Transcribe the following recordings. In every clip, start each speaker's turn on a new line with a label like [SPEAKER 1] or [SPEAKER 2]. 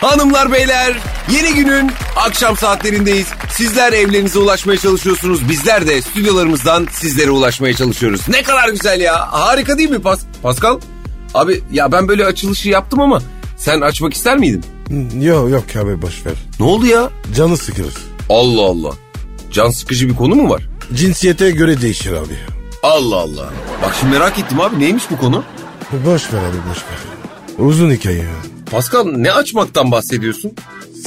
[SPEAKER 1] Hanımlar beyler yeni günün akşam saatlerindeyiz. Sizler evlerinize ulaşmaya çalışıyorsunuz. Bizler de stüdyolarımızdan sizlere ulaşmaya çalışıyoruz. Ne kadar güzel ya. Harika değil mi Pas Pascal? Abi ya ben böyle açılışı yaptım ama sen açmak ister miydin?
[SPEAKER 2] Yok yok abi boş ver.
[SPEAKER 1] Ne oldu ya?
[SPEAKER 2] Canı sıkılır.
[SPEAKER 1] Allah Allah. Can sıkıcı bir konu mu var?
[SPEAKER 2] Cinsiyete göre değişir abi.
[SPEAKER 1] Allah Allah. Bak şimdi merak ettim abi neymiş bu konu?
[SPEAKER 2] Boş ver abi boş ver. Uzun hikaye. ya.
[SPEAKER 1] Pascal ne açmaktan bahsediyorsun?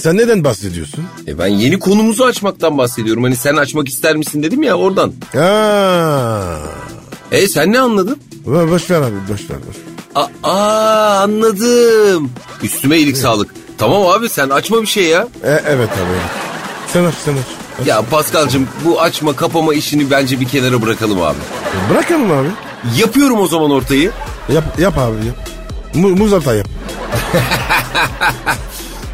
[SPEAKER 2] Sen neden bahsediyorsun?
[SPEAKER 1] E ben yeni konumuzu açmaktan bahsediyorum. Hani sen açmak ister misin dedim ya oradan.
[SPEAKER 2] Aa.
[SPEAKER 1] E sen ne anladın?
[SPEAKER 2] Bo- Boş ver abi boş ver. Boş. ver.
[SPEAKER 1] A- Aa anladım. Üstüme iyilik sağlık. Tamam abi sen açma bir şey ya.
[SPEAKER 2] E, evet abi evet. Sen aç sen aç. aç.
[SPEAKER 1] Ya Paskal'cığım bu açma kapama işini bence bir kenara bırakalım abi.
[SPEAKER 2] Bırakalım abi.
[SPEAKER 1] Yapıyorum o zaman ortayı.
[SPEAKER 2] Yap, yap abi yap. Mu, muz atağı yap.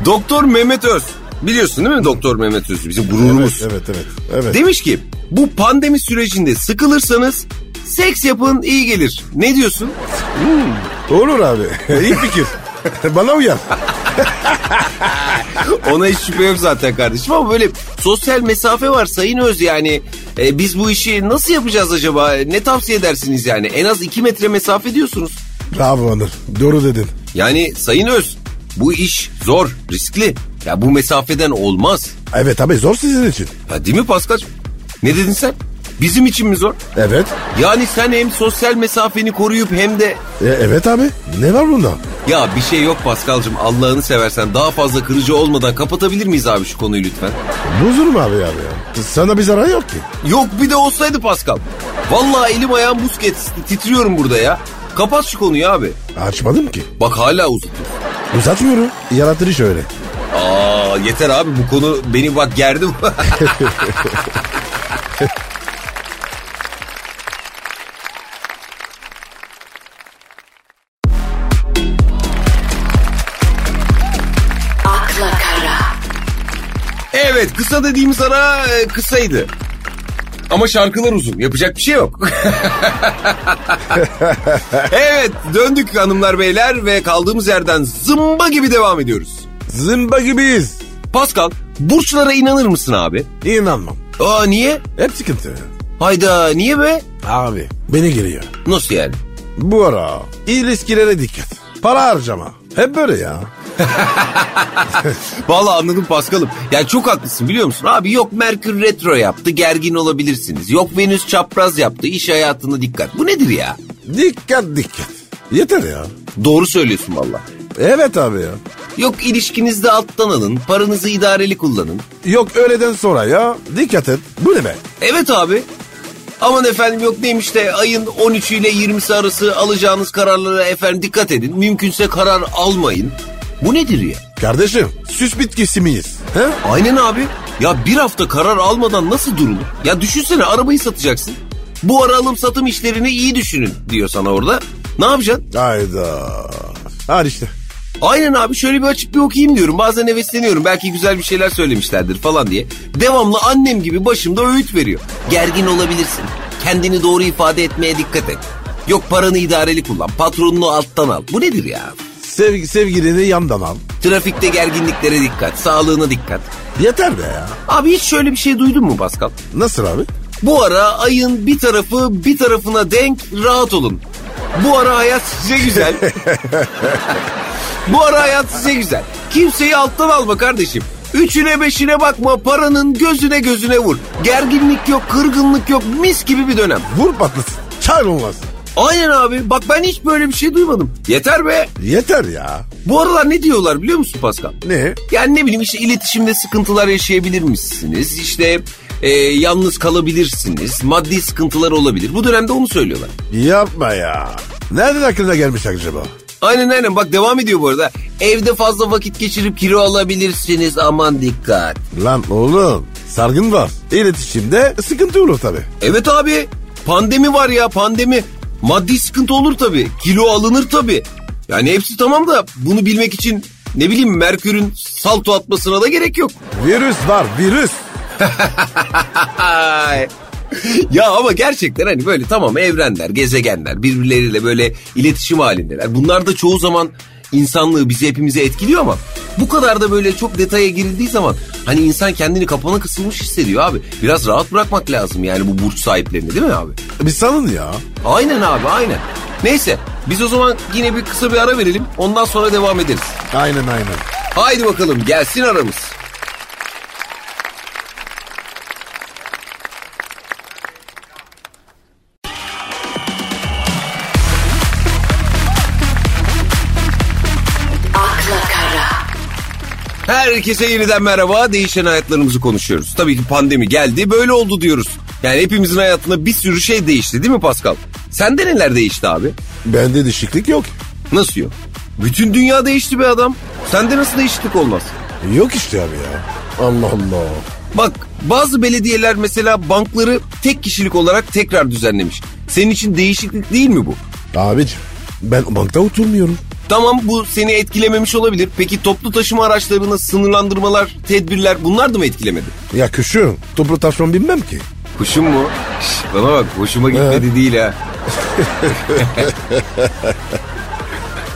[SPEAKER 1] Doktor Mehmet Öz. Biliyorsun değil mi Doktor Mehmet Öz? Bizim gururumuz.
[SPEAKER 2] Evet evet. evet.
[SPEAKER 1] Demiş ki bu pandemi sürecinde sıkılırsanız seks yapın iyi gelir. Ne diyorsun?
[SPEAKER 2] Olur abi. İyi fikir. Bana uyar.
[SPEAKER 1] Ona hiç şüphe yok zaten kardeşim ama böyle sosyal mesafe var Sayın Öz yani. E, biz bu işi nasıl yapacağız acaba? Ne tavsiye edersiniz yani? En az 2 metre mesafe diyorsunuz.
[SPEAKER 2] Bravo Onur. Doğru dedin.
[SPEAKER 1] Yani Sayın Öz bu iş zor, riskli. Ya bu mesafeden olmaz.
[SPEAKER 2] Evet abi zor sizin için.
[SPEAKER 1] Ha değil mi Paskaç? Ne dedin sen? Bizim için mi zor?
[SPEAKER 2] Evet.
[SPEAKER 1] Yani sen hem sosyal mesafeni koruyup hem de...
[SPEAKER 2] E, evet abi. Ne var bunda?
[SPEAKER 1] Ya bir şey yok Paskal'cığım Allah'ını seversen daha fazla kırıcı olmadan kapatabilir miyiz abi şu konuyu lütfen?
[SPEAKER 2] Bozurum abi abi ya. Sana bir zarar yok ki.
[SPEAKER 1] Yok bir de olsaydı Pascal. Vallahi elim ayağım buz kesildi. Titriyorum burada ya. Kapat şu konuyu abi.
[SPEAKER 2] Açmadım ki.
[SPEAKER 1] Bak hala uzatıyor.
[SPEAKER 2] Uzatmıyorum. Yaratırış öyle.
[SPEAKER 1] Aa yeter abi bu konu beni bak gerdi.
[SPEAKER 3] akla kara,
[SPEAKER 1] evet kısa dediğimiz ara e, kısaydı. Ama şarkılar uzun. Yapacak bir şey yok. evet döndük hanımlar beyler ve kaldığımız yerden zımba gibi devam ediyoruz.
[SPEAKER 2] Zımba gibiyiz.
[SPEAKER 1] Pascal burçlara inanır mısın abi?
[SPEAKER 2] İnanmam.
[SPEAKER 1] Aa niye?
[SPEAKER 2] Hep sıkıntı.
[SPEAKER 1] Hayda niye be?
[SPEAKER 2] Abi beni geliyor.
[SPEAKER 1] Nasıl yani?
[SPEAKER 2] Bu ara ilişkilere dikkat. Para harcama. Hep böyle ya.
[SPEAKER 1] Vallahi anladım Paskal'ım. Yani çok haklısın biliyor musun? Abi yok Merkür retro yaptı gergin olabilirsiniz. Yok Venüs çapraz yaptı iş hayatında dikkat. Bu nedir ya?
[SPEAKER 2] Dikkat dikkat. Yeter ya.
[SPEAKER 1] Doğru söylüyorsun valla.
[SPEAKER 2] Evet abi ya.
[SPEAKER 1] Yok ilişkinizde alttan alın, paranızı idareli kullanın.
[SPEAKER 2] Yok öğleden sonra ya. Dikkat et. Bu ne be?
[SPEAKER 1] Evet abi. Aman efendim yok neymiş de ayın 13'ü ile 20'si arası alacağınız kararlara efendim dikkat edin. Mümkünse karar almayın. Bu nedir ya?
[SPEAKER 2] Kardeşim süs bitkisi miyiz? He?
[SPEAKER 1] Aynen abi. Ya bir hafta karar almadan nasıl durulur? Ya düşünsene arabayı satacaksın. Bu ara alım satım işlerini iyi düşünün diyor sana orada. Ne yapacaksın?
[SPEAKER 2] Hayda. Hadi işte.
[SPEAKER 1] Aynen abi şöyle bir açıp bir okuyayım diyorum. Bazen hevesleniyorum. Belki güzel bir şeyler söylemişlerdir falan diye. Devamlı annem gibi başımda öğüt veriyor. Gergin olabilirsin. Kendini doğru ifade etmeye dikkat et. Yok paranı idareli kullan. Patronunu alttan al. Bu nedir ya?
[SPEAKER 2] Sevgi, sevgilini yandan al.
[SPEAKER 1] Trafikte gerginliklere dikkat. Sağlığına dikkat.
[SPEAKER 2] Yeter be ya.
[SPEAKER 1] Abi hiç şöyle bir şey duydun mu Pascal?
[SPEAKER 2] Nasıl abi?
[SPEAKER 1] Bu ara ayın bir tarafı bir tarafına denk rahat olun. Bu ara hayat size güzel. Bu ara hayat size güzel. Kimseyi alttan alma kardeşim. Üçüne beşine bakma paranın gözüne gözüne vur. Gerginlik yok, kırgınlık yok, mis gibi bir dönem.
[SPEAKER 2] Vur patlasın. Çay olmasın.
[SPEAKER 1] Aynen abi bak ben hiç böyle bir şey duymadım. Yeter be.
[SPEAKER 2] Yeter ya.
[SPEAKER 1] Bu aralar ne diyorlar biliyor musun Pascal?
[SPEAKER 2] Ne?
[SPEAKER 1] Yani ne bileyim işte iletişimde sıkıntılar yaşayabilir misiniz? İşte e, yalnız kalabilirsiniz. Maddi sıkıntılar olabilir. Bu dönemde onu söylüyorlar.
[SPEAKER 2] Yapma ya. Nereden aklına gelmiş acaba?
[SPEAKER 1] Aynen aynen bak devam ediyor bu arada. Evde fazla vakit geçirip kilo alabilirsiniz aman dikkat.
[SPEAKER 2] Lan oğlum sargın var. İletişimde sıkıntı olur tabii.
[SPEAKER 1] Evet abi pandemi var ya pandemi. Maddi sıkıntı olur tabii. Kilo alınır tabii. Yani hepsi tamam da bunu bilmek için ne bileyim Merkür'ün salto atmasına da gerek yok.
[SPEAKER 2] Virüs var virüs.
[SPEAKER 1] Ay. ya ama gerçekten hani böyle tamam evrenler, gezegenler birbirleriyle böyle iletişim halindeler. Bunlar da çoğu zaman insanlığı bizi hepimizi etkiliyor ama bu kadar da böyle çok detaya girildiği zaman hani insan kendini kapana kısılmış hissediyor abi. Biraz rahat bırakmak lazım yani bu burç sahiplerini değil mi abi?
[SPEAKER 2] Bir salın ya.
[SPEAKER 1] Aynen abi aynen. Neyse biz o zaman yine bir kısa bir ara verelim ondan sonra devam ederiz.
[SPEAKER 2] Aynen aynen.
[SPEAKER 1] Haydi bakalım gelsin aramız. Herkese yeniden merhaba. Değişen hayatlarımızı konuşuyoruz. Tabii ki pandemi geldi, böyle oldu diyoruz. Yani hepimizin hayatında bir sürü şey değişti değil mi Pascal? Sende neler değişti abi?
[SPEAKER 2] Bende değişiklik yok.
[SPEAKER 1] Nasıl yok? Bütün dünya değişti be adam. Sende nasıl değişiklik olmaz?
[SPEAKER 2] Yok işte abi ya. Allah Allah.
[SPEAKER 1] Bak bazı belediyeler mesela bankları tek kişilik olarak tekrar düzenlemiş. Senin için değişiklik değil mi bu?
[SPEAKER 2] Abicim ben bankta oturmuyorum.
[SPEAKER 1] Tamam bu seni etkilememiş olabilir. Peki toplu taşıma araçlarına sınırlandırmalar, tedbirler bunlar da mı etkilemedi?
[SPEAKER 2] Ya kuşum toplu taşron bilmem ki.
[SPEAKER 1] Kuşum mu? Şş, bana bak hoşuma gitmedi değil ha.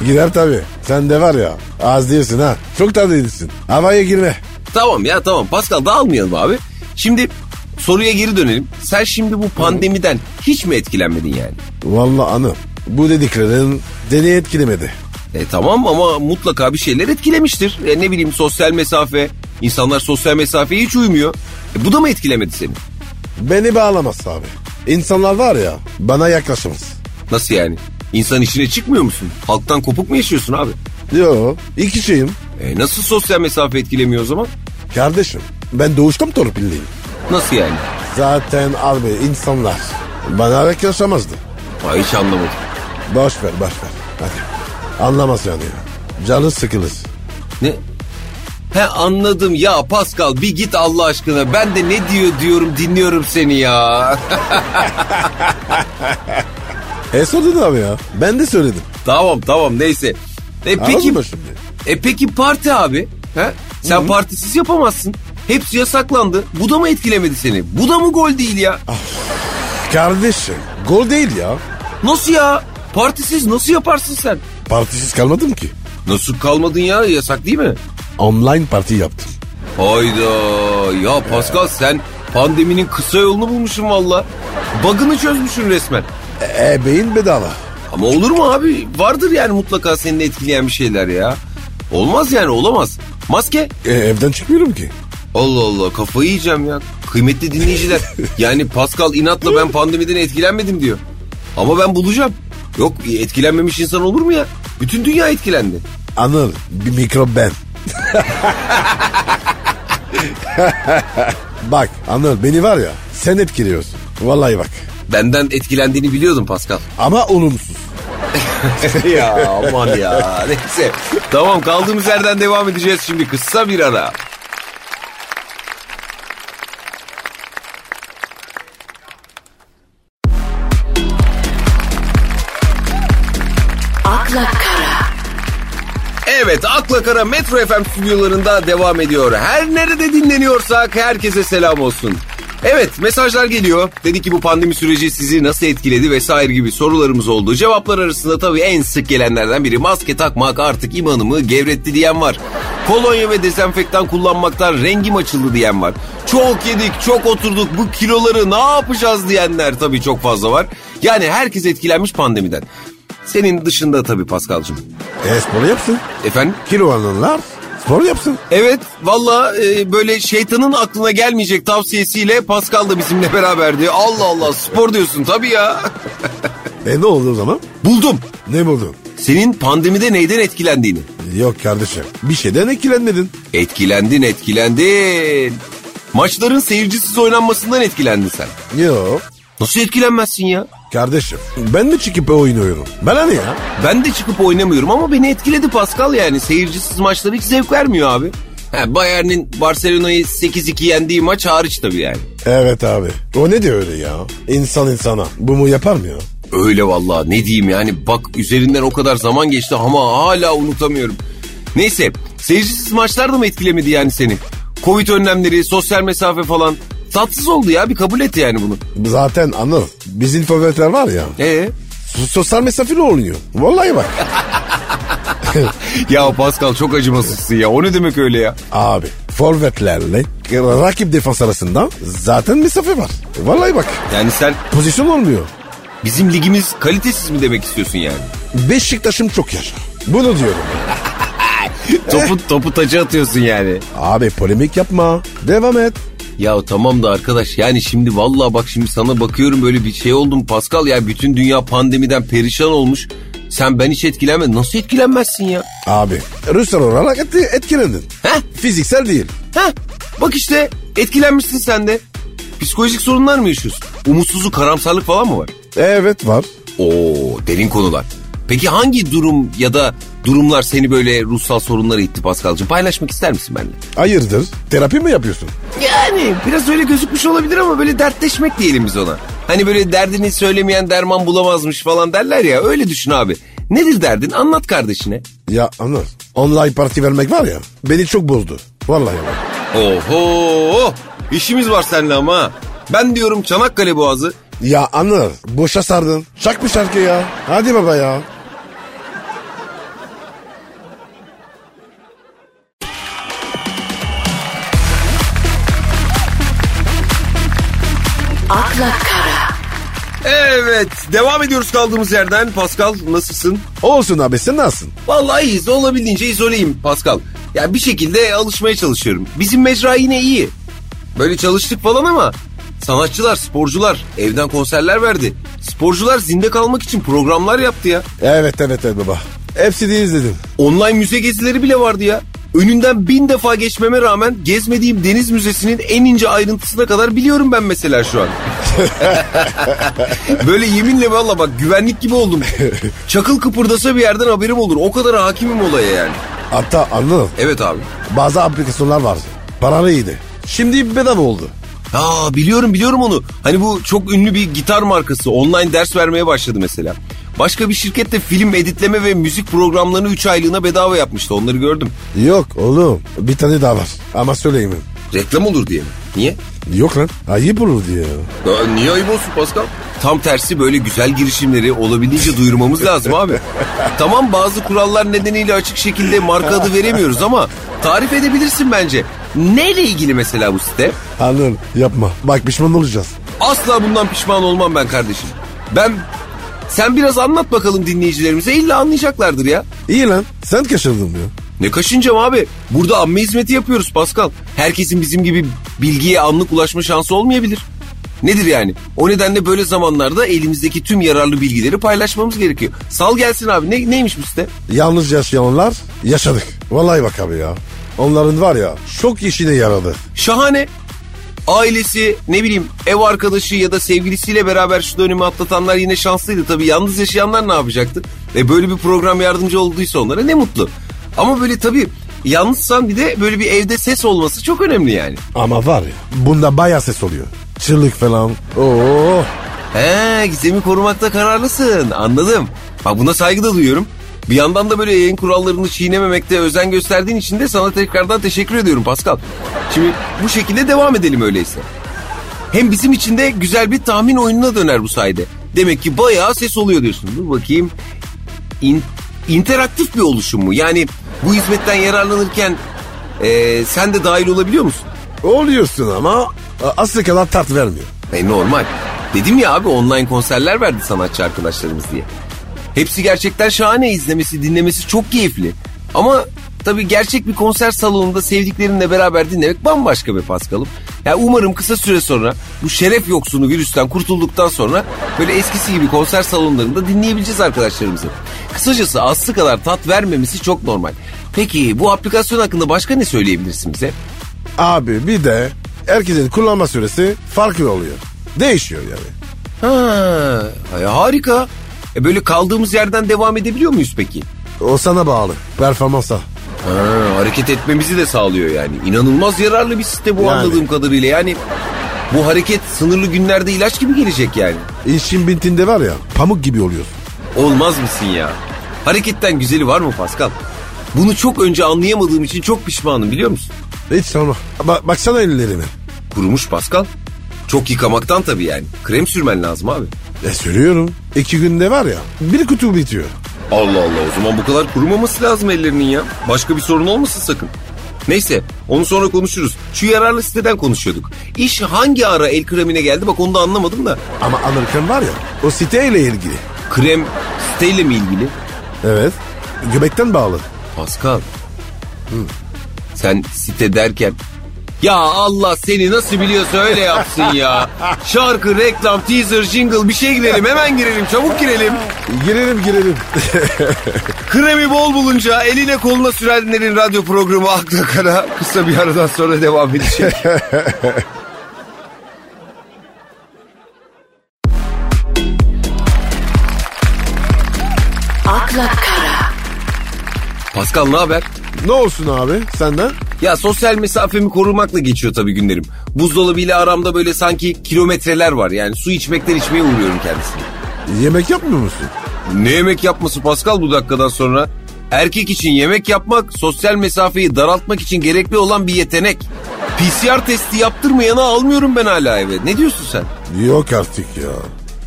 [SPEAKER 2] Gider tabii. Sen de var ya az değilsin ha. Çok da değilsin. Havaya girme.
[SPEAKER 1] Tamam ya tamam Pascal dağılmayalım abi. Şimdi soruya geri dönelim. Sen şimdi bu pandemiden hiç mi etkilenmedin yani?
[SPEAKER 2] Vallahi anım. Bu dediklerin deli etkilemedi.
[SPEAKER 1] E tamam ama mutlaka bir şeyler etkilemiştir. E, ne bileyim sosyal mesafe, insanlar sosyal mesafeye hiç uymuyor. E, bu da mı etkilemedi seni?
[SPEAKER 2] Beni bağlamaz abi. İnsanlar var ya bana yaklaşamaz.
[SPEAKER 1] Nasıl yani? İnsan işine çıkmıyor musun? Halktan kopuk mu yaşıyorsun abi?
[SPEAKER 2] Yo iki şeyim.
[SPEAKER 1] E, nasıl sosyal mesafe etkilemiyor o zaman?
[SPEAKER 2] Kardeşim ben doğuştan torpilliyim.
[SPEAKER 1] Nasıl yani?
[SPEAKER 2] Zaten abi insanlar bana yaklaşamazdı.
[SPEAKER 1] Aa, hiç anlamadım.
[SPEAKER 2] Boş ver boş ver. Hadi. Anlamaz yani. Canı sıkılır.
[SPEAKER 1] Ne? He anladım ya Pascal bir git Allah aşkına. Ben de ne diyor diyorum dinliyorum seni ya.
[SPEAKER 2] E söyledin abi ya. Ben de söyledim.
[SPEAKER 1] tamam tamam neyse. E
[SPEAKER 2] Anladın
[SPEAKER 1] peki
[SPEAKER 2] mı şimdi?
[SPEAKER 1] E peki parti abi? He? Sen partisiz yapamazsın. Hepsi yasaklandı. Bu da mı etkilemedi seni? Bu da mı gol değil ya?
[SPEAKER 2] Kardeşim gol değil ya.
[SPEAKER 1] Nasıl ya? Partisiz nasıl yaparsın sen?
[SPEAKER 2] Partisiz kalmadım ki.
[SPEAKER 1] Nasıl kalmadın ya? Yasak değil mi?
[SPEAKER 2] Online parti yaptım.
[SPEAKER 1] Hayda. Ya Pascal sen pandeminin kısa yolunu bulmuşsun valla. Bug'ını çözmüşsün resmen.
[SPEAKER 2] E, e, beyin bedava.
[SPEAKER 1] Ama olur mu abi? Vardır yani mutlaka seni etkileyen bir şeyler ya. Olmaz yani olamaz. Maske
[SPEAKER 2] E, evden çıkmıyorum ki.
[SPEAKER 1] Allah Allah kafayı yiyeceğim ya. Kıymetli dinleyiciler. yani Pascal inatla ben pandemiden etkilenmedim diyor. Ama ben bulacağım. Yok etkilenmemiş insan olur mu ya? Bütün dünya etkilendi.
[SPEAKER 2] Anıl bir mikrop ben. bak Anıl beni var ya sen etkiliyorsun. Vallahi bak.
[SPEAKER 1] Benden etkilendiğini biliyordum Pascal.
[SPEAKER 2] Ama olumsuz.
[SPEAKER 1] ya aman ya. Neyse. Tamam kaldığımız yerden devam edeceğiz şimdi. Kısa bir ara. Evet Akla Kara Metro FM stüdyolarında devam ediyor. Her nerede dinleniyorsak herkese selam olsun. Evet mesajlar geliyor. Dedi ki bu pandemi süreci sizi nasıl etkiledi vesaire gibi sorularımız oldu. Cevaplar arasında tabii en sık gelenlerden biri maske takmak artık imanımı gevretti diyen var. Kolonya ve dezenfektan kullanmaktan rengim açıldı diyen var. Çok yedik, çok oturduk, bu kiloları ne yapacağız diyenler tabii çok fazla var. Yani herkes etkilenmiş pandemiden. Senin dışında tabii Paskal'cığım.
[SPEAKER 2] E spor yapsın.
[SPEAKER 1] Efendim?
[SPEAKER 2] Kilo alanlar spor yapsın.
[SPEAKER 1] Evet valla e, böyle şeytanın aklına gelmeyecek tavsiyesiyle Pascal da bizimle beraberdi. Allah Allah spor diyorsun tabii ya.
[SPEAKER 2] E ne oldu o zaman?
[SPEAKER 1] Buldum.
[SPEAKER 2] Ne buldun?
[SPEAKER 1] Senin pandemide neyden etkilendiğini.
[SPEAKER 2] Yok kardeşim bir şeyden etkilenmedin.
[SPEAKER 1] Etkilendin etkilendin. Maçların seyircisiz oynanmasından etkilendin sen.
[SPEAKER 2] Yok.
[SPEAKER 1] Nasıl etkilenmezsin ya?
[SPEAKER 2] Kardeşim ben mi çıkıp e, oynuyorum? Bana ne ya?
[SPEAKER 1] Ben de çıkıp oynamıyorum ama beni etkiledi Pascal yani. Seyircisiz maçları hiç zevk vermiyor abi. Ha, Bayern'in Barcelona'yı 8-2 yendiği maç hariç tabii yani.
[SPEAKER 2] Evet abi. O ne diyor öyle ya? İnsan insana. Bu mu yapar mı ya?
[SPEAKER 1] Öyle vallahi ne diyeyim yani bak üzerinden o kadar zaman geçti ama hala unutamıyorum. Neyse seyircisiz maçlar da mı etkilemedi yani seni? Covid önlemleri, sosyal mesafe falan. Tatsız oldu ya bir kabul et yani bunu.
[SPEAKER 2] Zaten anıl. Bizim forvetler var ya.
[SPEAKER 1] Ee?
[SPEAKER 2] so- Sosyal mesafeli oynuyor. Vallahi bak.
[SPEAKER 1] ya Pascal çok acımasızsın ya. O ne demek öyle ya?
[SPEAKER 2] Abi forvetlerle rakip defans arasında zaten mesafe var. Vallahi bak
[SPEAKER 1] Yani sen
[SPEAKER 2] pozisyon olmuyor.
[SPEAKER 1] bizim ligimiz kalitesiz mi demek istiyorsun yani?
[SPEAKER 2] Beşiktaş'ım çok yaşa. Bunu diyorum.
[SPEAKER 1] topu topu taca atıyorsun yani.
[SPEAKER 2] Abi polemik yapma. Devam et.
[SPEAKER 1] Ya tamam da arkadaş yani şimdi vallahi bak şimdi sana bakıyorum böyle bir şey oldum Pascal ya bütün dünya pandemiden perişan olmuş. Sen ben hiç etkilenme. Nasıl etkilenmezsin ya?
[SPEAKER 2] Abi Ruslar olarak et, etkilendin.
[SPEAKER 1] Heh,
[SPEAKER 2] Fiziksel değil.
[SPEAKER 1] heh. Bak işte etkilenmişsin sen de. Psikolojik sorunlar mı yaşıyorsun? Umutsuzluk, karamsarlık falan mı var?
[SPEAKER 2] Evet var.
[SPEAKER 1] Oo derin konular. Peki hangi durum ya da durumlar seni böyle ruhsal sorunlara itti Pascal'cığım? Paylaşmak ister misin benimle?
[SPEAKER 2] Hayırdır? Terapi mi yapıyorsun?
[SPEAKER 1] Yani biraz öyle gözükmüş olabilir ama böyle dertleşmek diyelim biz ona. Hani böyle derdini söylemeyen derman bulamazmış falan derler ya öyle düşün abi. Nedir derdin anlat kardeşine.
[SPEAKER 2] Ya anlar. Online parti vermek var ya beni çok bozdu. Vallahi bak.
[SPEAKER 1] Oho işimiz var seninle ama. Ben diyorum Çanakkale Boğazı.
[SPEAKER 2] Ya anlar boşa sardın. Çak bir şarkı ya. Hadi baba ya.
[SPEAKER 3] akla kara,
[SPEAKER 1] Evet devam ediyoruz kaldığımız yerden. Pascal nasılsın?
[SPEAKER 2] Olsun abi sen nasılsın?
[SPEAKER 1] Vallahi iyiyiz olabildiğince izoleyim Pascal. Ya bir şekilde alışmaya çalışıyorum. Bizim mecra yine iyi. Böyle çalıştık falan ama sanatçılar, sporcular evden konserler verdi. Sporcular zinde kalmak için programlar yaptı ya.
[SPEAKER 2] Evet evet evet baba. Hepsini izledim.
[SPEAKER 1] Online müze gezileri bile vardı ya. Önünden bin defa geçmeme rağmen gezmediğim deniz müzesinin en ince ayrıntısına kadar biliyorum ben mesela şu an. Böyle yeminle valla bak güvenlik gibi oldum. Çakıl kıpırdasa bir yerden haberim olur. O kadar hakimim olaya yani.
[SPEAKER 2] Hatta anlar
[SPEAKER 1] Evet abi.
[SPEAKER 2] bazı aplikasyonlar vardı. Paralıydı. Şimdi bedava oldu.
[SPEAKER 1] Aa biliyorum biliyorum onu. Hani bu çok ünlü bir gitar markası online ders vermeye başladı mesela. Başka bir şirket de film editleme ve müzik programlarını 3 aylığına bedava yapmıştı. Onları gördüm.
[SPEAKER 2] Yok oğlum bir tane daha var ama söyleyeyim.
[SPEAKER 1] Reklam olur diye mi? Niye?
[SPEAKER 2] Yok lan ayıp olur diye.
[SPEAKER 1] Ya niye ayıp olsun Pascal? Tam tersi böyle güzel girişimleri olabildiğince duyurmamız lazım abi. tamam bazı kurallar nedeniyle açık şekilde marka adı veremiyoruz ama tarif edebilirsin bence. Neyle ilgili mesela bu site?
[SPEAKER 2] Anıl yapma bak pişman olacağız.
[SPEAKER 1] Asla bundan pişman olmam ben kardeşim. Ben sen biraz anlat bakalım dinleyicilerimize illa anlayacaklardır ya.
[SPEAKER 2] İyi lan sen kaçırdın ya.
[SPEAKER 1] Ne kaşınacağım abi? Burada amme hizmeti yapıyoruz Pascal. Herkesin bizim gibi bilgiye anlık ulaşma şansı olmayabilir. Nedir yani? O nedenle böyle zamanlarda elimizdeki tüm yararlı bilgileri paylaşmamız gerekiyor. Sal gelsin abi. Ne, neymiş bu site?
[SPEAKER 2] Yalnız yaşayanlar yaşadık. Vallahi bak abi ya. Onların var ya çok işine yaradı.
[SPEAKER 1] Şahane. Ailesi, ne bileyim ev arkadaşı ya da sevgilisiyle beraber şu dönemi atlatanlar yine şanslıydı. Tabii yalnız yaşayanlar ne yapacaktı? E böyle bir program yardımcı olduysa onlara ne mutlu. Ama böyle tabii yalnızsan bir de böyle bir evde ses olması çok önemli yani.
[SPEAKER 2] Ama var ya bunda bayağı ses oluyor. Çığlık falan. Oo.
[SPEAKER 1] He gizemi korumakta kararlısın anladım. Bak buna saygı da duyuyorum. Bir yandan da böyle yayın kurallarını çiğnememekte özen gösterdiğin için de sana tekrardan teşekkür ediyorum Pascal. Şimdi bu şekilde devam edelim öyleyse. Hem bizim için de güzel bir tahmin oyununa döner bu sayede. Demek ki bayağı ses oluyor diyorsun. Dur bakayım. İn- interaktif bir oluşum mu? Yani bu hizmetten yararlanırken eee, sen de dahil olabiliyor musun?
[SPEAKER 2] Oluyorsun ama a- aslı kadar tat vermiyor.
[SPEAKER 1] E normal. Dedim ya abi online konserler verdi sanatçı arkadaşlarımız diye. Hepsi gerçekten şahane izlemesi, dinlemesi çok keyifli. Ama tabii gerçek bir konser salonunda sevdiklerinle beraber dinlemek bambaşka bir paskalım. Ya umarım kısa süre sonra bu şeref yoksunu virüsten kurtulduktan sonra böyle eskisi gibi konser salonlarında dinleyebileceğiz arkadaşlarımızı. Kısacası aslı kadar tat vermemesi çok normal. Peki bu aplikasyon hakkında başka ne söyleyebilirsin bize?
[SPEAKER 2] Abi bir de herkesin kullanma süresi farklı oluyor. Değişiyor yani.
[SPEAKER 1] Ha, ay harika. E böyle kaldığımız yerden devam edebiliyor muyuz peki?
[SPEAKER 2] O sana bağlı. Performansa.
[SPEAKER 1] Ha, hareket etmemizi de sağlıyor yani. İnanılmaz yararlı bir site bu
[SPEAKER 2] Yani.
[SPEAKER 1] anladığım kadarıyla. Yani bu hareket sınırlı günlerde ilaç gibi gelecek yani.
[SPEAKER 2] İşin bittiğinde var ya pamuk gibi oluyorsun.
[SPEAKER 1] Olmaz mısın ya? Hareketten güzeli var mı Pascal? Bunu çok önce anlayamadığım için çok pişmanım biliyor musun?
[SPEAKER 2] Hiç sorma. Ba- baksana ellerine.
[SPEAKER 1] Kurumuş Pascal. Çok yıkamaktan tabii yani. Krem sürmen lazım abi.
[SPEAKER 2] E sürüyorum. İki günde var ya bir kutu bitiyor.
[SPEAKER 1] Allah Allah o zaman bu kadar kurumaması lazım ellerinin ya. Başka bir sorun olmasın sakın. Neyse onu sonra konuşuruz. Şu yararlı siteden konuşuyorduk. İş hangi ara el kremine geldi bak onu da anlamadım da.
[SPEAKER 2] Ama Amerikan var ya o siteyle ilgili.
[SPEAKER 1] Krem siteyle mi ilgili?
[SPEAKER 2] Evet. Göbekten bağlı.
[SPEAKER 1] Pascal. Sen site derken ya Allah seni nasıl biliyorsa öyle yapsın ya. Şarkı, reklam, teaser, jingle bir şey girelim hemen girelim çabuk girelim.
[SPEAKER 2] Girelim girelim.
[SPEAKER 1] Kremi bol bulunca eline koluna sürenlerin radyo programı akla kara kısa bir aradan sonra devam edecek.
[SPEAKER 3] akla kara,
[SPEAKER 1] Pascal ne haber?
[SPEAKER 2] ne olsun abi senden?
[SPEAKER 1] Ya sosyal mesafemi korumakla geçiyor tabii günlerim. Buzdolabıyla aramda böyle sanki kilometreler var. Yani su içmekten içmeye uğruyorum kendisine.
[SPEAKER 2] Yemek yapmıyor musun?
[SPEAKER 1] Ne yemek yapması Pascal bu dakikadan sonra? Erkek için yemek yapmak, sosyal mesafeyi daraltmak için gerekli olan bir yetenek. PCR testi yaptırmayana almıyorum ben hala eve. Ne diyorsun sen?
[SPEAKER 2] Yok artık ya.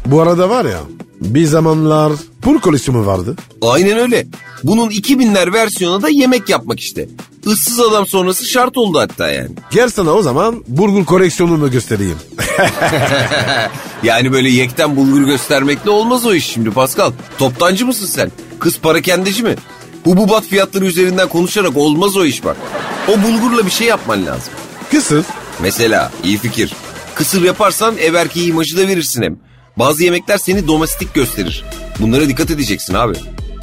[SPEAKER 2] Bu arada var ya bir zamanlar pul kolesyonu vardı.
[SPEAKER 1] Aynen öyle. Bunun 2000'ler versiyonu da yemek yapmak işte. Issız adam sonrası şart oldu hatta yani.
[SPEAKER 2] Gel sana o zaman burgul koleksiyonunu göstereyim.
[SPEAKER 1] Yani böyle yekten bulgur göstermekle olmaz o iş şimdi Pascal. Toptancı mısın sen? Kız parakendeci mi? Hububat fiyatları üzerinden konuşarak olmaz o iş bak. O bulgurla bir şey yapman lazım.
[SPEAKER 2] Kısır.
[SPEAKER 1] Mesela iyi fikir. Kısır yaparsan ev erkeği imajı da verirsin hem. Bazı yemekler seni domestik gösterir. Bunlara dikkat edeceksin abi.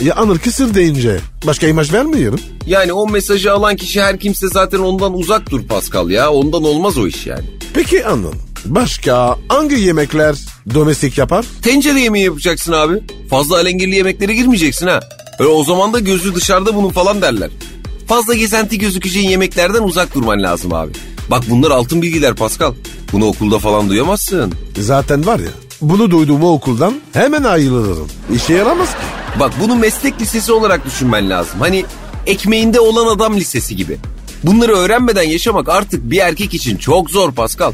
[SPEAKER 2] Ya Anıl kısır deyince başka imaj vermiyorum.
[SPEAKER 1] Yani o mesajı alan kişi her kimse zaten ondan uzak dur Pascal ya. Ondan olmaz o iş yani.
[SPEAKER 2] Peki Anıl başka hangi yemekler domestik yapar?
[SPEAKER 1] Tencere yemeği yapacaksın abi. Fazla alengirli yemeklere girmeyeceksin ha. Öyle o zaman da gözü dışarıda bunun falan derler. Fazla gezenti gözükeceğin yemeklerden uzak durman lazım abi. Bak bunlar altın bilgiler Pascal. Bunu okulda falan duyamazsın.
[SPEAKER 2] Zaten var ya bunu duyduğumu okuldan hemen ayrılırım. İşe yaramaz ki.
[SPEAKER 1] Bak bunu meslek lisesi olarak düşünmen lazım. Hani ekmeğinde olan adam lisesi gibi. Bunları öğrenmeden yaşamak artık bir erkek için çok zor Pascal.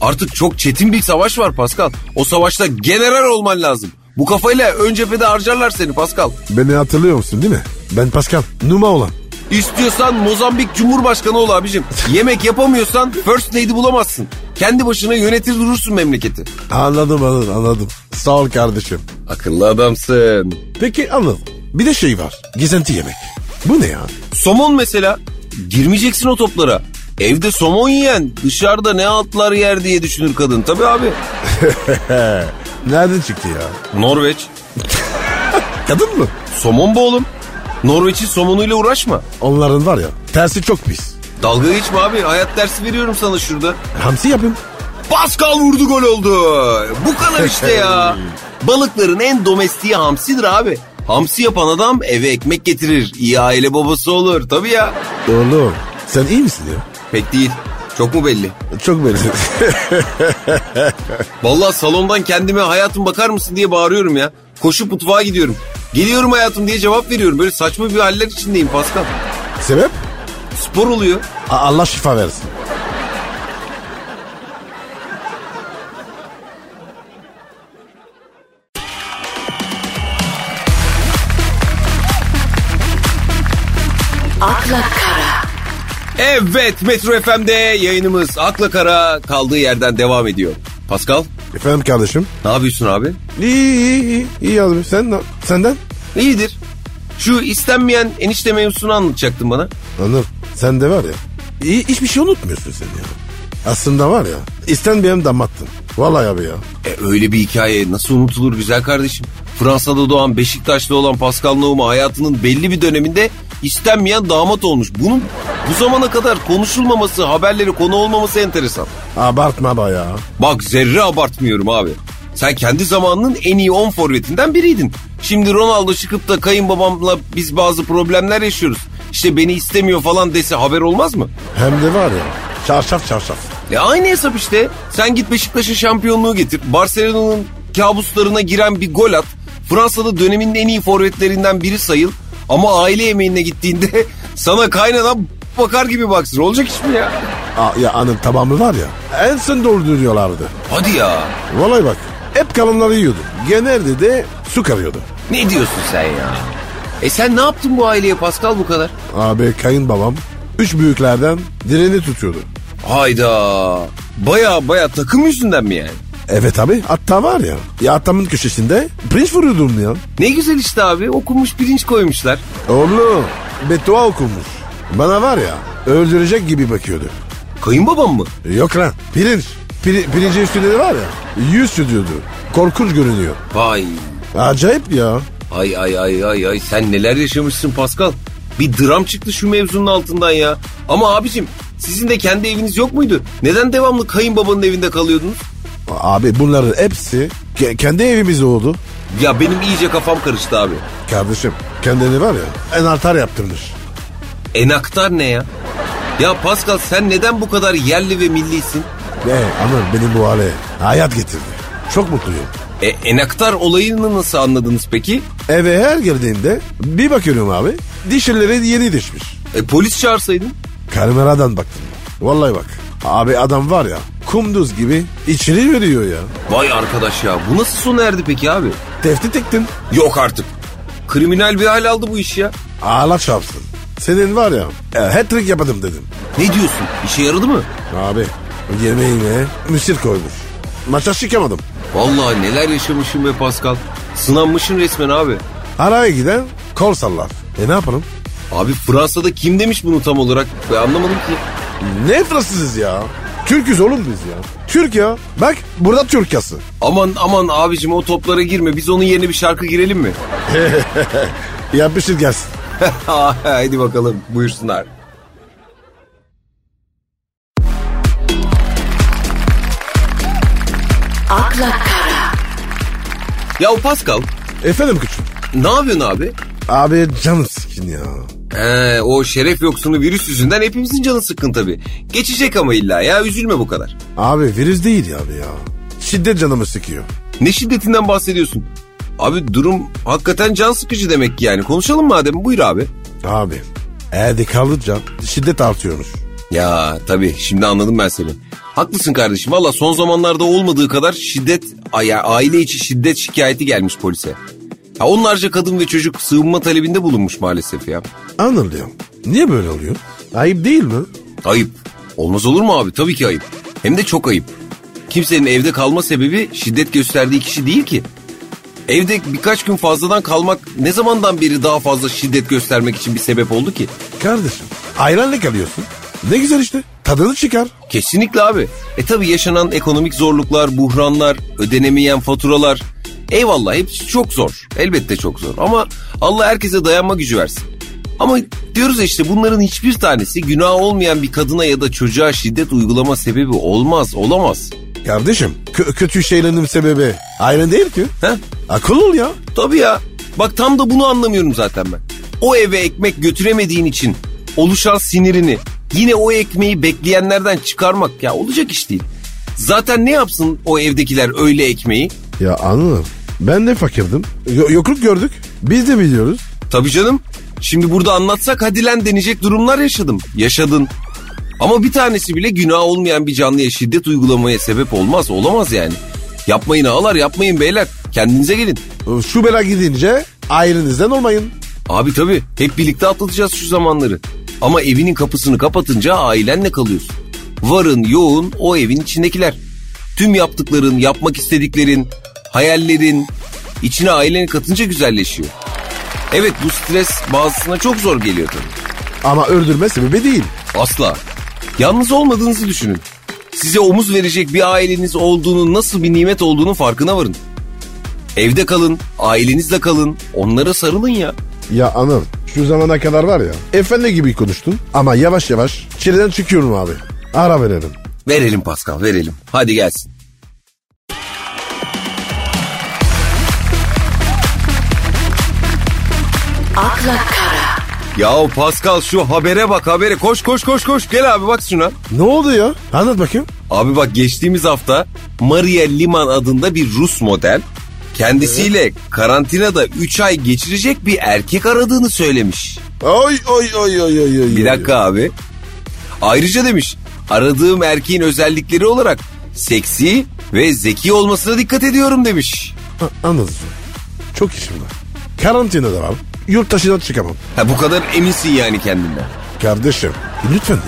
[SPEAKER 1] Artık çok çetin bir savaş var Pascal. O savaşta general olman lazım. Bu kafayla ön cephede harcarlar seni Pascal.
[SPEAKER 2] Beni hatırlıyor musun değil mi? Ben Pascal. Numa olan.
[SPEAKER 1] İstiyorsan Mozambik Cumhurbaşkanı ol abicim. Yemek yapamıyorsan First Lady bulamazsın. Kendi başına yönetir durursun memleketi.
[SPEAKER 2] Anladım anladım anladım. Sağ ol kardeşim.
[SPEAKER 1] Akıllı adamsın.
[SPEAKER 2] Peki Anıl bir de şey var. Gizenti yemek. Bu ne ya?
[SPEAKER 1] Somon mesela. Girmeyeceksin o toplara. Evde somon yiyen dışarıda ne altlar yer diye düşünür kadın. Tabii abi.
[SPEAKER 2] Nereden çıktı ya?
[SPEAKER 1] Norveç.
[SPEAKER 2] Kadın mı?
[SPEAKER 1] Somon bu oğlum. Norveç'in somonuyla uğraşma.
[SPEAKER 2] Onların var ya tersi çok pis.
[SPEAKER 1] Dalga geçme abi. Hayat dersi veriyorum sana şurada.
[SPEAKER 2] Hamsi yapın.
[SPEAKER 1] Pascal vurdu gol oldu. Bu kadar işte ya. Balıkların en domestiği hamsidir abi. Hamsi yapan adam eve ekmek getirir. İyi aile babası olur tabii ya.
[SPEAKER 2] Oğlum sen iyi misin ya?
[SPEAKER 1] Pek değil. Çok mu belli?
[SPEAKER 2] Çok belli.
[SPEAKER 1] Vallahi salondan kendime hayatım bakar mısın diye bağırıyorum ya. Koşup mutfağa gidiyorum. Geliyorum hayatım diye cevap veriyorum. Böyle saçma bir haller içindeyim Pascal.
[SPEAKER 2] Sebep?
[SPEAKER 1] Spor oluyor.
[SPEAKER 2] A- Allah şifa versin.
[SPEAKER 3] akla kara,
[SPEAKER 1] Evet Metro FM'de yayınımız Akla Kara kaldığı yerden devam ediyor. Pascal
[SPEAKER 2] Efendim kardeşim.
[SPEAKER 1] ne yapıyorsun abi?
[SPEAKER 2] İyi iyi iyi. İyi abi. Sen, ne- senden?
[SPEAKER 1] İyidir. Şu istenmeyen enişte mevzusunu anlatacaktın bana.
[SPEAKER 2] Anıl sen de var ya. İyi, hiçbir şey unutmuyorsun sen ya. Aslında var ya. İstenmeyen damattın. Vallahi abi ya.
[SPEAKER 1] E öyle bir hikaye nasıl unutulur güzel kardeşim? Fransa'da doğan Beşiktaşlı olan Pascal Nohuma hayatının belli bir döneminde istenmeyen damat olmuş. Bunun bu zamana kadar konuşulmaması, haberlere konu olmaması enteresan.
[SPEAKER 2] Abartma be ya.
[SPEAKER 1] Bak zerre abartmıyorum abi. Sen kendi zamanının en iyi 10 forvetinden biriydin. Şimdi Ronaldo çıkıp da kayınbabamla biz bazı problemler yaşıyoruz. İşte beni istemiyor falan dese haber olmaz mı?
[SPEAKER 2] Hem de var ya. Çarşaf çarşaf.
[SPEAKER 1] E aynı hesap işte. Sen git Beşiktaş'a şampiyonluğu getir. Barcelona'nın kabuslarına giren bir gol at. Fransa'da dönemin en iyi forvetlerinden biri sayıl. Ama aile yemeğine gittiğinde sana kaynana bakar gibi baksın. Olacak iş mi ya?
[SPEAKER 2] Aa, ya anın tamamı var ya. En son dolduruyorlardı.
[SPEAKER 1] Hadi ya.
[SPEAKER 2] Vallahi bak. Hep kalanları yiyordu. Genelde de su karıyordu.
[SPEAKER 1] Ne diyorsun sen ya? E sen ne yaptın bu aileye Pascal bu kadar?
[SPEAKER 2] Abi kayınbabam üç büyüklerden direni tutuyordu.
[SPEAKER 1] Hayda. Baya baya takım yüzünden mi yani?
[SPEAKER 2] Evet abi hatta var ya. Ya attamın köşesinde pirinç vuruyordum ya.
[SPEAKER 1] Ne güzel işte abi okumuş pirinç koymuşlar.
[SPEAKER 2] Oğlum beddua okumuş. Bana var ya öldürecek gibi bakıyordu.
[SPEAKER 1] Kayınbabam mı?
[SPEAKER 2] Yok lan pirinç. Pir, pirinci üstünde de var ya yüz stüdyodu. Korkunç görünüyor.
[SPEAKER 1] Vay.
[SPEAKER 2] Acayip ya.
[SPEAKER 1] Ay ay ay ay ay sen neler yaşamışsın Pascal. Bir dram çıktı şu mevzunun altından ya. Ama abicim sizin de kendi eviniz yok muydu? Neden devamlı kayınbabanın evinde kalıyordunuz?
[SPEAKER 2] Abi bunların hepsi ke- kendi evimizde oldu.
[SPEAKER 1] Ya benim iyice kafam karıştı abi.
[SPEAKER 2] Kardeşim kendini var ya en artar yaptırmış.
[SPEAKER 1] Enaktar ne ya? Ya Pascal sen neden bu kadar yerli ve millisin?
[SPEAKER 2] Ve ama beni bu hale hayat getirdi. Çok mutluyum.
[SPEAKER 1] E, enaktar olayını nasıl anladınız peki?
[SPEAKER 2] Eve her girdiğimde bir bakıyorum abi dişleri yeni düşmüş.
[SPEAKER 1] E, polis çağırsaydın?
[SPEAKER 2] Kameradan baktım. Vallahi bak. Abi adam var ya kumduz gibi içeri veriyor ya.
[SPEAKER 1] Vay arkadaş ya bu nasıl sona erdi peki abi?
[SPEAKER 2] Teftit ettim.
[SPEAKER 1] Yok artık. Kriminal bir hal aldı bu iş ya.
[SPEAKER 2] Ağla çarpsın. Senin var ya e, hat-trick yapadım dedim.
[SPEAKER 1] Ne diyorsun? İşe yaradı mı?
[SPEAKER 2] Abi yemeğine müsir koymuş. Maça çıkamadım.
[SPEAKER 1] Vallahi neler yaşamışım be Pascal. Sınanmışın resmen abi.
[SPEAKER 2] Araya giden kol sallar. E ne yapalım?
[SPEAKER 1] Abi Fransa'da kim demiş bunu tam olarak? Ben anlamadım ki.
[SPEAKER 2] Ne Fransızız ya? Türküz oğlum biz ya. Türk ya. Bak burada Türk yası.
[SPEAKER 1] Aman aman abicim o toplara girme. Biz onun yerine bir şarkı girelim mi?
[SPEAKER 2] Yapışır şey gelsin.
[SPEAKER 1] Haydi bakalım buyursunlar.
[SPEAKER 3] akla kara,
[SPEAKER 1] Ya o Pascal
[SPEAKER 2] Efendim küçük.
[SPEAKER 1] ne yapıyorsun abi?
[SPEAKER 2] Abi canım sıkın ya.
[SPEAKER 1] Ee, o şeref yoksunu virüs yüzünden hepimizin canı sıkkın tabii. Geçecek ama illa ya üzülme bu kadar.
[SPEAKER 2] Abi virüs değil abi ya. Şiddet canımı sıkıyor.
[SPEAKER 1] Ne şiddetinden bahsediyorsun? Abi durum hakikaten can sıkıcı demek ki yani. Konuşalım madem buyur abi.
[SPEAKER 2] Abi eğer kaldıkça şiddet artıyormuş.
[SPEAKER 1] Ya tabii şimdi anladım ben seni. Haklısın kardeşim. Valla son zamanlarda olmadığı kadar şiddet, ay- aile içi şiddet şikayeti gelmiş polise. Ha, onlarca kadın ve çocuk sığınma talebinde bulunmuş maalesef ya.
[SPEAKER 2] Anlıyorum. Niye böyle oluyor? Ayıp değil mi?
[SPEAKER 1] Ayıp. Olmaz olur mu abi? Tabii ki ayıp. Hem de çok ayıp. Kimsenin evde kalma sebebi şiddet gösterdiği kişi değil ki. Evde birkaç gün fazladan kalmak ne zamandan beri daha fazla şiddet göstermek için bir sebep oldu ki?
[SPEAKER 2] Kardeşim ayranla kalıyorsun. Ne güzel işte. Tadını çıkar.
[SPEAKER 1] Kesinlikle abi. E tabi yaşanan ekonomik zorluklar, buhranlar, ödenemeyen faturalar. Eyvallah hepsi çok zor. Elbette çok zor. Ama Allah herkese dayanma gücü versin. Ama diyoruz ya işte bunların hiçbir tanesi günah olmayan bir kadına ya da çocuğa şiddet uygulama sebebi olmaz, olamaz.
[SPEAKER 2] Kardeşim kö- kötü şeylerin sebebi ayran değil ki.
[SPEAKER 1] Heh?
[SPEAKER 2] Akıl ol ya.
[SPEAKER 1] Tabii ya. Bak tam da bunu anlamıyorum zaten ben. O eve ekmek götüremediğin için oluşan sinirini yine o ekmeği bekleyenlerden çıkarmak ya olacak iş değil. Zaten ne yapsın o evdekiler öyle ekmeği?
[SPEAKER 2] Ya anladım. Ben de fakirdim. Yo- yokluk gördük. Biz de biliyoruz.
[SPEAKER 1] Tabii canım. Şimdi burada anlatsak hadi lan denecek durumlar yaşadım. Yaşadın. Ama bir tanesi bile günah olmayan bir canlıya şiddet uygulamaya sebep olmaz. Olamaz yani. Yapmayın ağalar yapmayın beyler. Kendinize gelin.
[SPEAKER 2] Şu bela gidince ayrınızdan olmayın.
[SPEAKER 1] Abi tabii hep birlikte atlatacağız şu zamanları. Ama evinin kapısını kapatınca ailenle kalıyorsun. Varın yoğun o evin içindekiler. Tüm yaptıkların, yapmak istediklerin, hayallerin içine aileni katınca güzelleşiyor. Evet bu stres bazısına çok zor geliyor tabii.
[SPEAKER 2] Ama öldürme sebebi değil.
[SPEAKER 1] Asla. Yalnız olmadığınızı düşünün. Size omuz verecek bir aileniz olduğunu, nasıl bir nimet olduğunu farkına varın. Evde kalın, ailenizle kalın, onlara sarılın ya.
[SPEAKER 2] Ya anam şu zamana kadar var ya efendi gibi konuştun ama yavaş yavaş çileden çıkıyorum abi. Ara verelim.
[SPEAKER 1] Verelim Pascal verelim. Hadi gelsin.
[SPEAKER 3] akla kara,
[SPEAKER 1] Ya Pascal şu habere bak habere koş koş koş koş gel abi bak şuna.
[SPEAKER 2] Ne oldu ya? Anlat bakayım.
[SPEAKER 1] Abi bak geçtiğimiz hafta Maria Liman adında bir Rus model kendisiyle karantinada 3 ay geçirecek bir erkek aradığını söylemiş.
[SPEAKER 2] Oy oy oy oy oy oy.
[SPEAKER 1] Bir dakika abi. Ayrıca demiş aradığım erkeğin özellikleri olarak seksi ve zeki olmasına dikkat ediyorum demiş.
[SPEAKER 2] Ha, anladım. Çok işim var. Karantinada var. Yurt dışına çıkamam.
[SPEAKER 1] Ha, bu kadar eminsin yani kendinden.
[SPEAKER 2] Kardeşim E, lütfen de.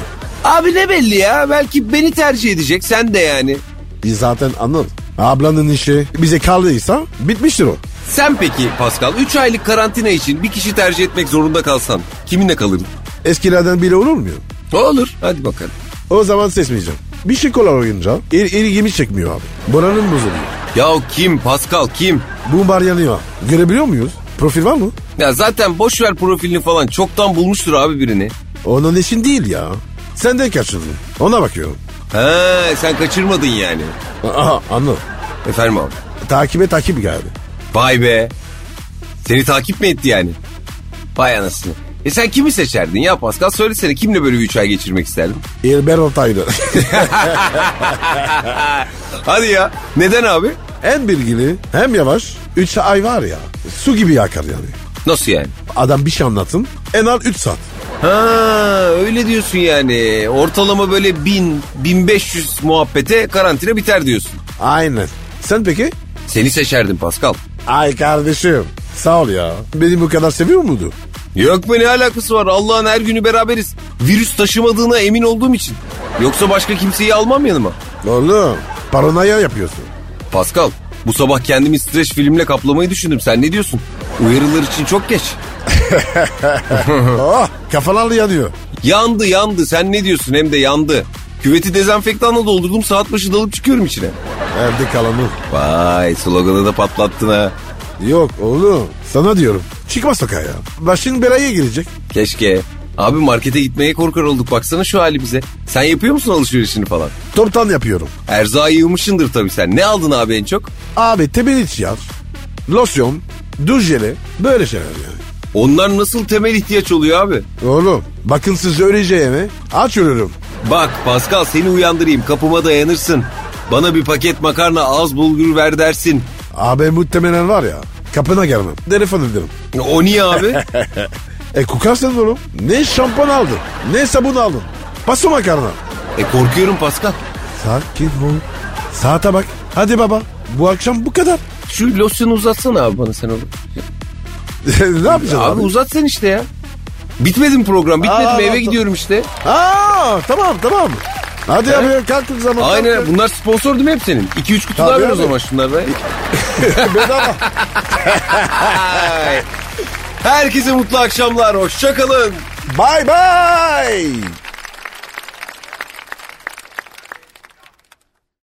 [SPEAKER 1] Abi ne belli ya belki beni tercih edecek sen de yani.
[SPEAKER 2] Biz zaten anladık. Ablanın işi bize kaldıysa bitmiştir o.
[SPEAKER 1] Sen peki Pascal 3 aylık karantina için bir kişi tercih etmek zorunda kalsan kiminle kalırdın?
[SPEAKER 2] Eskilerden biri olur mu?
[SPEAKER 1] Olur hadi bakalım.
[SPEAKER 2] O zaman seçmeyeceğim. Bir şey kolay oynayınca il, ilgimi çekmiyor abi. Buranın bozuluyor.
[SPEAKER 1] Ya kim Pascal kim?
[SPEAKER 2] Bumbar yanıyor. Görebiliyor muyuz? Profil var mı?
[SPEAKER 1] Ya zaten boş ver profilini falan çoktan bulmuştur abi birini.
[SPEAKER 2] Onun için değil ya. Senden kaçırdın. Ona bakıyorum.
[SPEAKER 1] Ha sen kaçırmadın yani.
[SPEAKER 2] Aha anladım.
[SPEAKER 1] Efendim abi.
[SPEAKER 2] Takibe takip geldi.
[SPEAKER 1] Vay be. Seni takip mi etti yani? Vay anasını. E sen kimi seçerdin ya Pascal? Söylesene kimle böyle bir üç ay geçirmek isterdin?
[SPEAKER 2] İlber Ortaylı.
[SPEAKER 1] Hadi ya. Neden abi?
[SPEAKER 2] hem bilgili hem yavaş. Üç ay var ya. Su gibi yakar yani.
[SPEAKER 1] Nasıl yani?
[SPEAKER 2] Adam bir şey anlatın. En az 3 saat.
[SPEAKER 1] Ha öyle diyorsun yani. Ortalama böyle 1000 1500 muhabbete karantina biter diyorsun.
[SPEAKER 2] Aynen. Sen peki?
[SPEAKER 1] Seni seçerdim Pascal.
[SPEAKER 2] Ay kardeşim. Sağ ol ya. Beni bu kadar seviyor muydu?
[SPEAKER 1] Yok be ne alakası var? Allah'ın her günü beraberiz. Virüs taşımadığına emin olduğum için. Yoksa başka kimseyi almam yanıma.
[SPEAKER 2] Oğlum paranoya yapıyorsun.
[SPEAKER 1] Pascal bu sabah kendimi streç filmle kaplamayı düşündüm. Sen ne diyorsun? Uyarılar için çok geç.
[SPEAKER 2] oh, kafalar yanıyor.
[SPEAKER 1] Yandı yandı sen ne diyorsun hem de yandı. Küveti dezenfektanla doldurdum saat başı dalıp çıkıyorum içine.
[SPEAKER 2] Evde kalanı.
[SPEAKER 1] Vay sloganı da patlattın ha.
[SPEAKER 2] Yok oğlum sana diyorum. Çıkma sokağa ya. Başın belaya girecek.
[SPEAKER 1] Keşke. Abi markete gitmeye korkar olduk baksana şu halimize. Sen yapıyor musun alışverişini falan?
[SPEAKER 2] Toptan yapıyorum.
[SPEAKER 1] Erzağı yığmışındır tabii sen. Ne aldın abi en çok?
[SPEAKER 2] Abi temel ihtiyaç. Losyon, duş jeli böyle şeyler yani.
[SPEAKER 1] Onlar nasıl temel ihtiyaç oluyor abi?
[SPEAKER 2] Oğlum bakın siz öleceğime aç ölürüm.
[SPEAKER 1] Bak Pascal seni uyandırayım kapıma dayanırsın. Bana bir paket makarna az bulgur ver dersin.
[SPEAKER 2] Abi muhtemelen var ya kapına gelmem. Telefon ederim.
[SPEAKER 1] O niye abi?
[SPEAKER 2] E kokarsın oğlum. Ne şampuan aldın ne sabun aldın. Paso makarna.
[SPEAKER 1] e korkuyorum Pascal.
[SPEAKER 2] Sakin ol. Saate bak. Hadi baba bu akşam bu kadar.
[SPEAKER 1] Şu losyonu uzatsana abi bana sen onu.
[SPEAKER 2] ne yapacaksın
[SPEAKER 1] Abi
[SPEAKER 2] abi?
[SPEAKER 1] uzat sen işte ya. Bitmedi mi program? Bitmedi
[SPEAKER 2] Aa,
[SPEAKER 1] mi? Eve
[SPEAKER 2] tamam.
[SPEAKER 1] gidiyorum işte.
[SPEAKER 2] Aa tamam tamam. Hadi abi kalk o zaman.
[SPEAKER 1] Aynen
[SPEAKER 2] Kalk.
[SPEAKER 1] bunlar sponsor değil mi hep senin? 2-3 kutu daha
[SPEAKER 2] Tabii
[SPEAKER 1] ver o
[SPEAKER 2] abi.
[SPEAKER 1] zaman şunlarda.
[SPEAKER 2] Bedava.
[SPEAKER 1] Herkese mutlu akşamlar. Hoşçakalın.
[SPEAKER 2] Bye bye.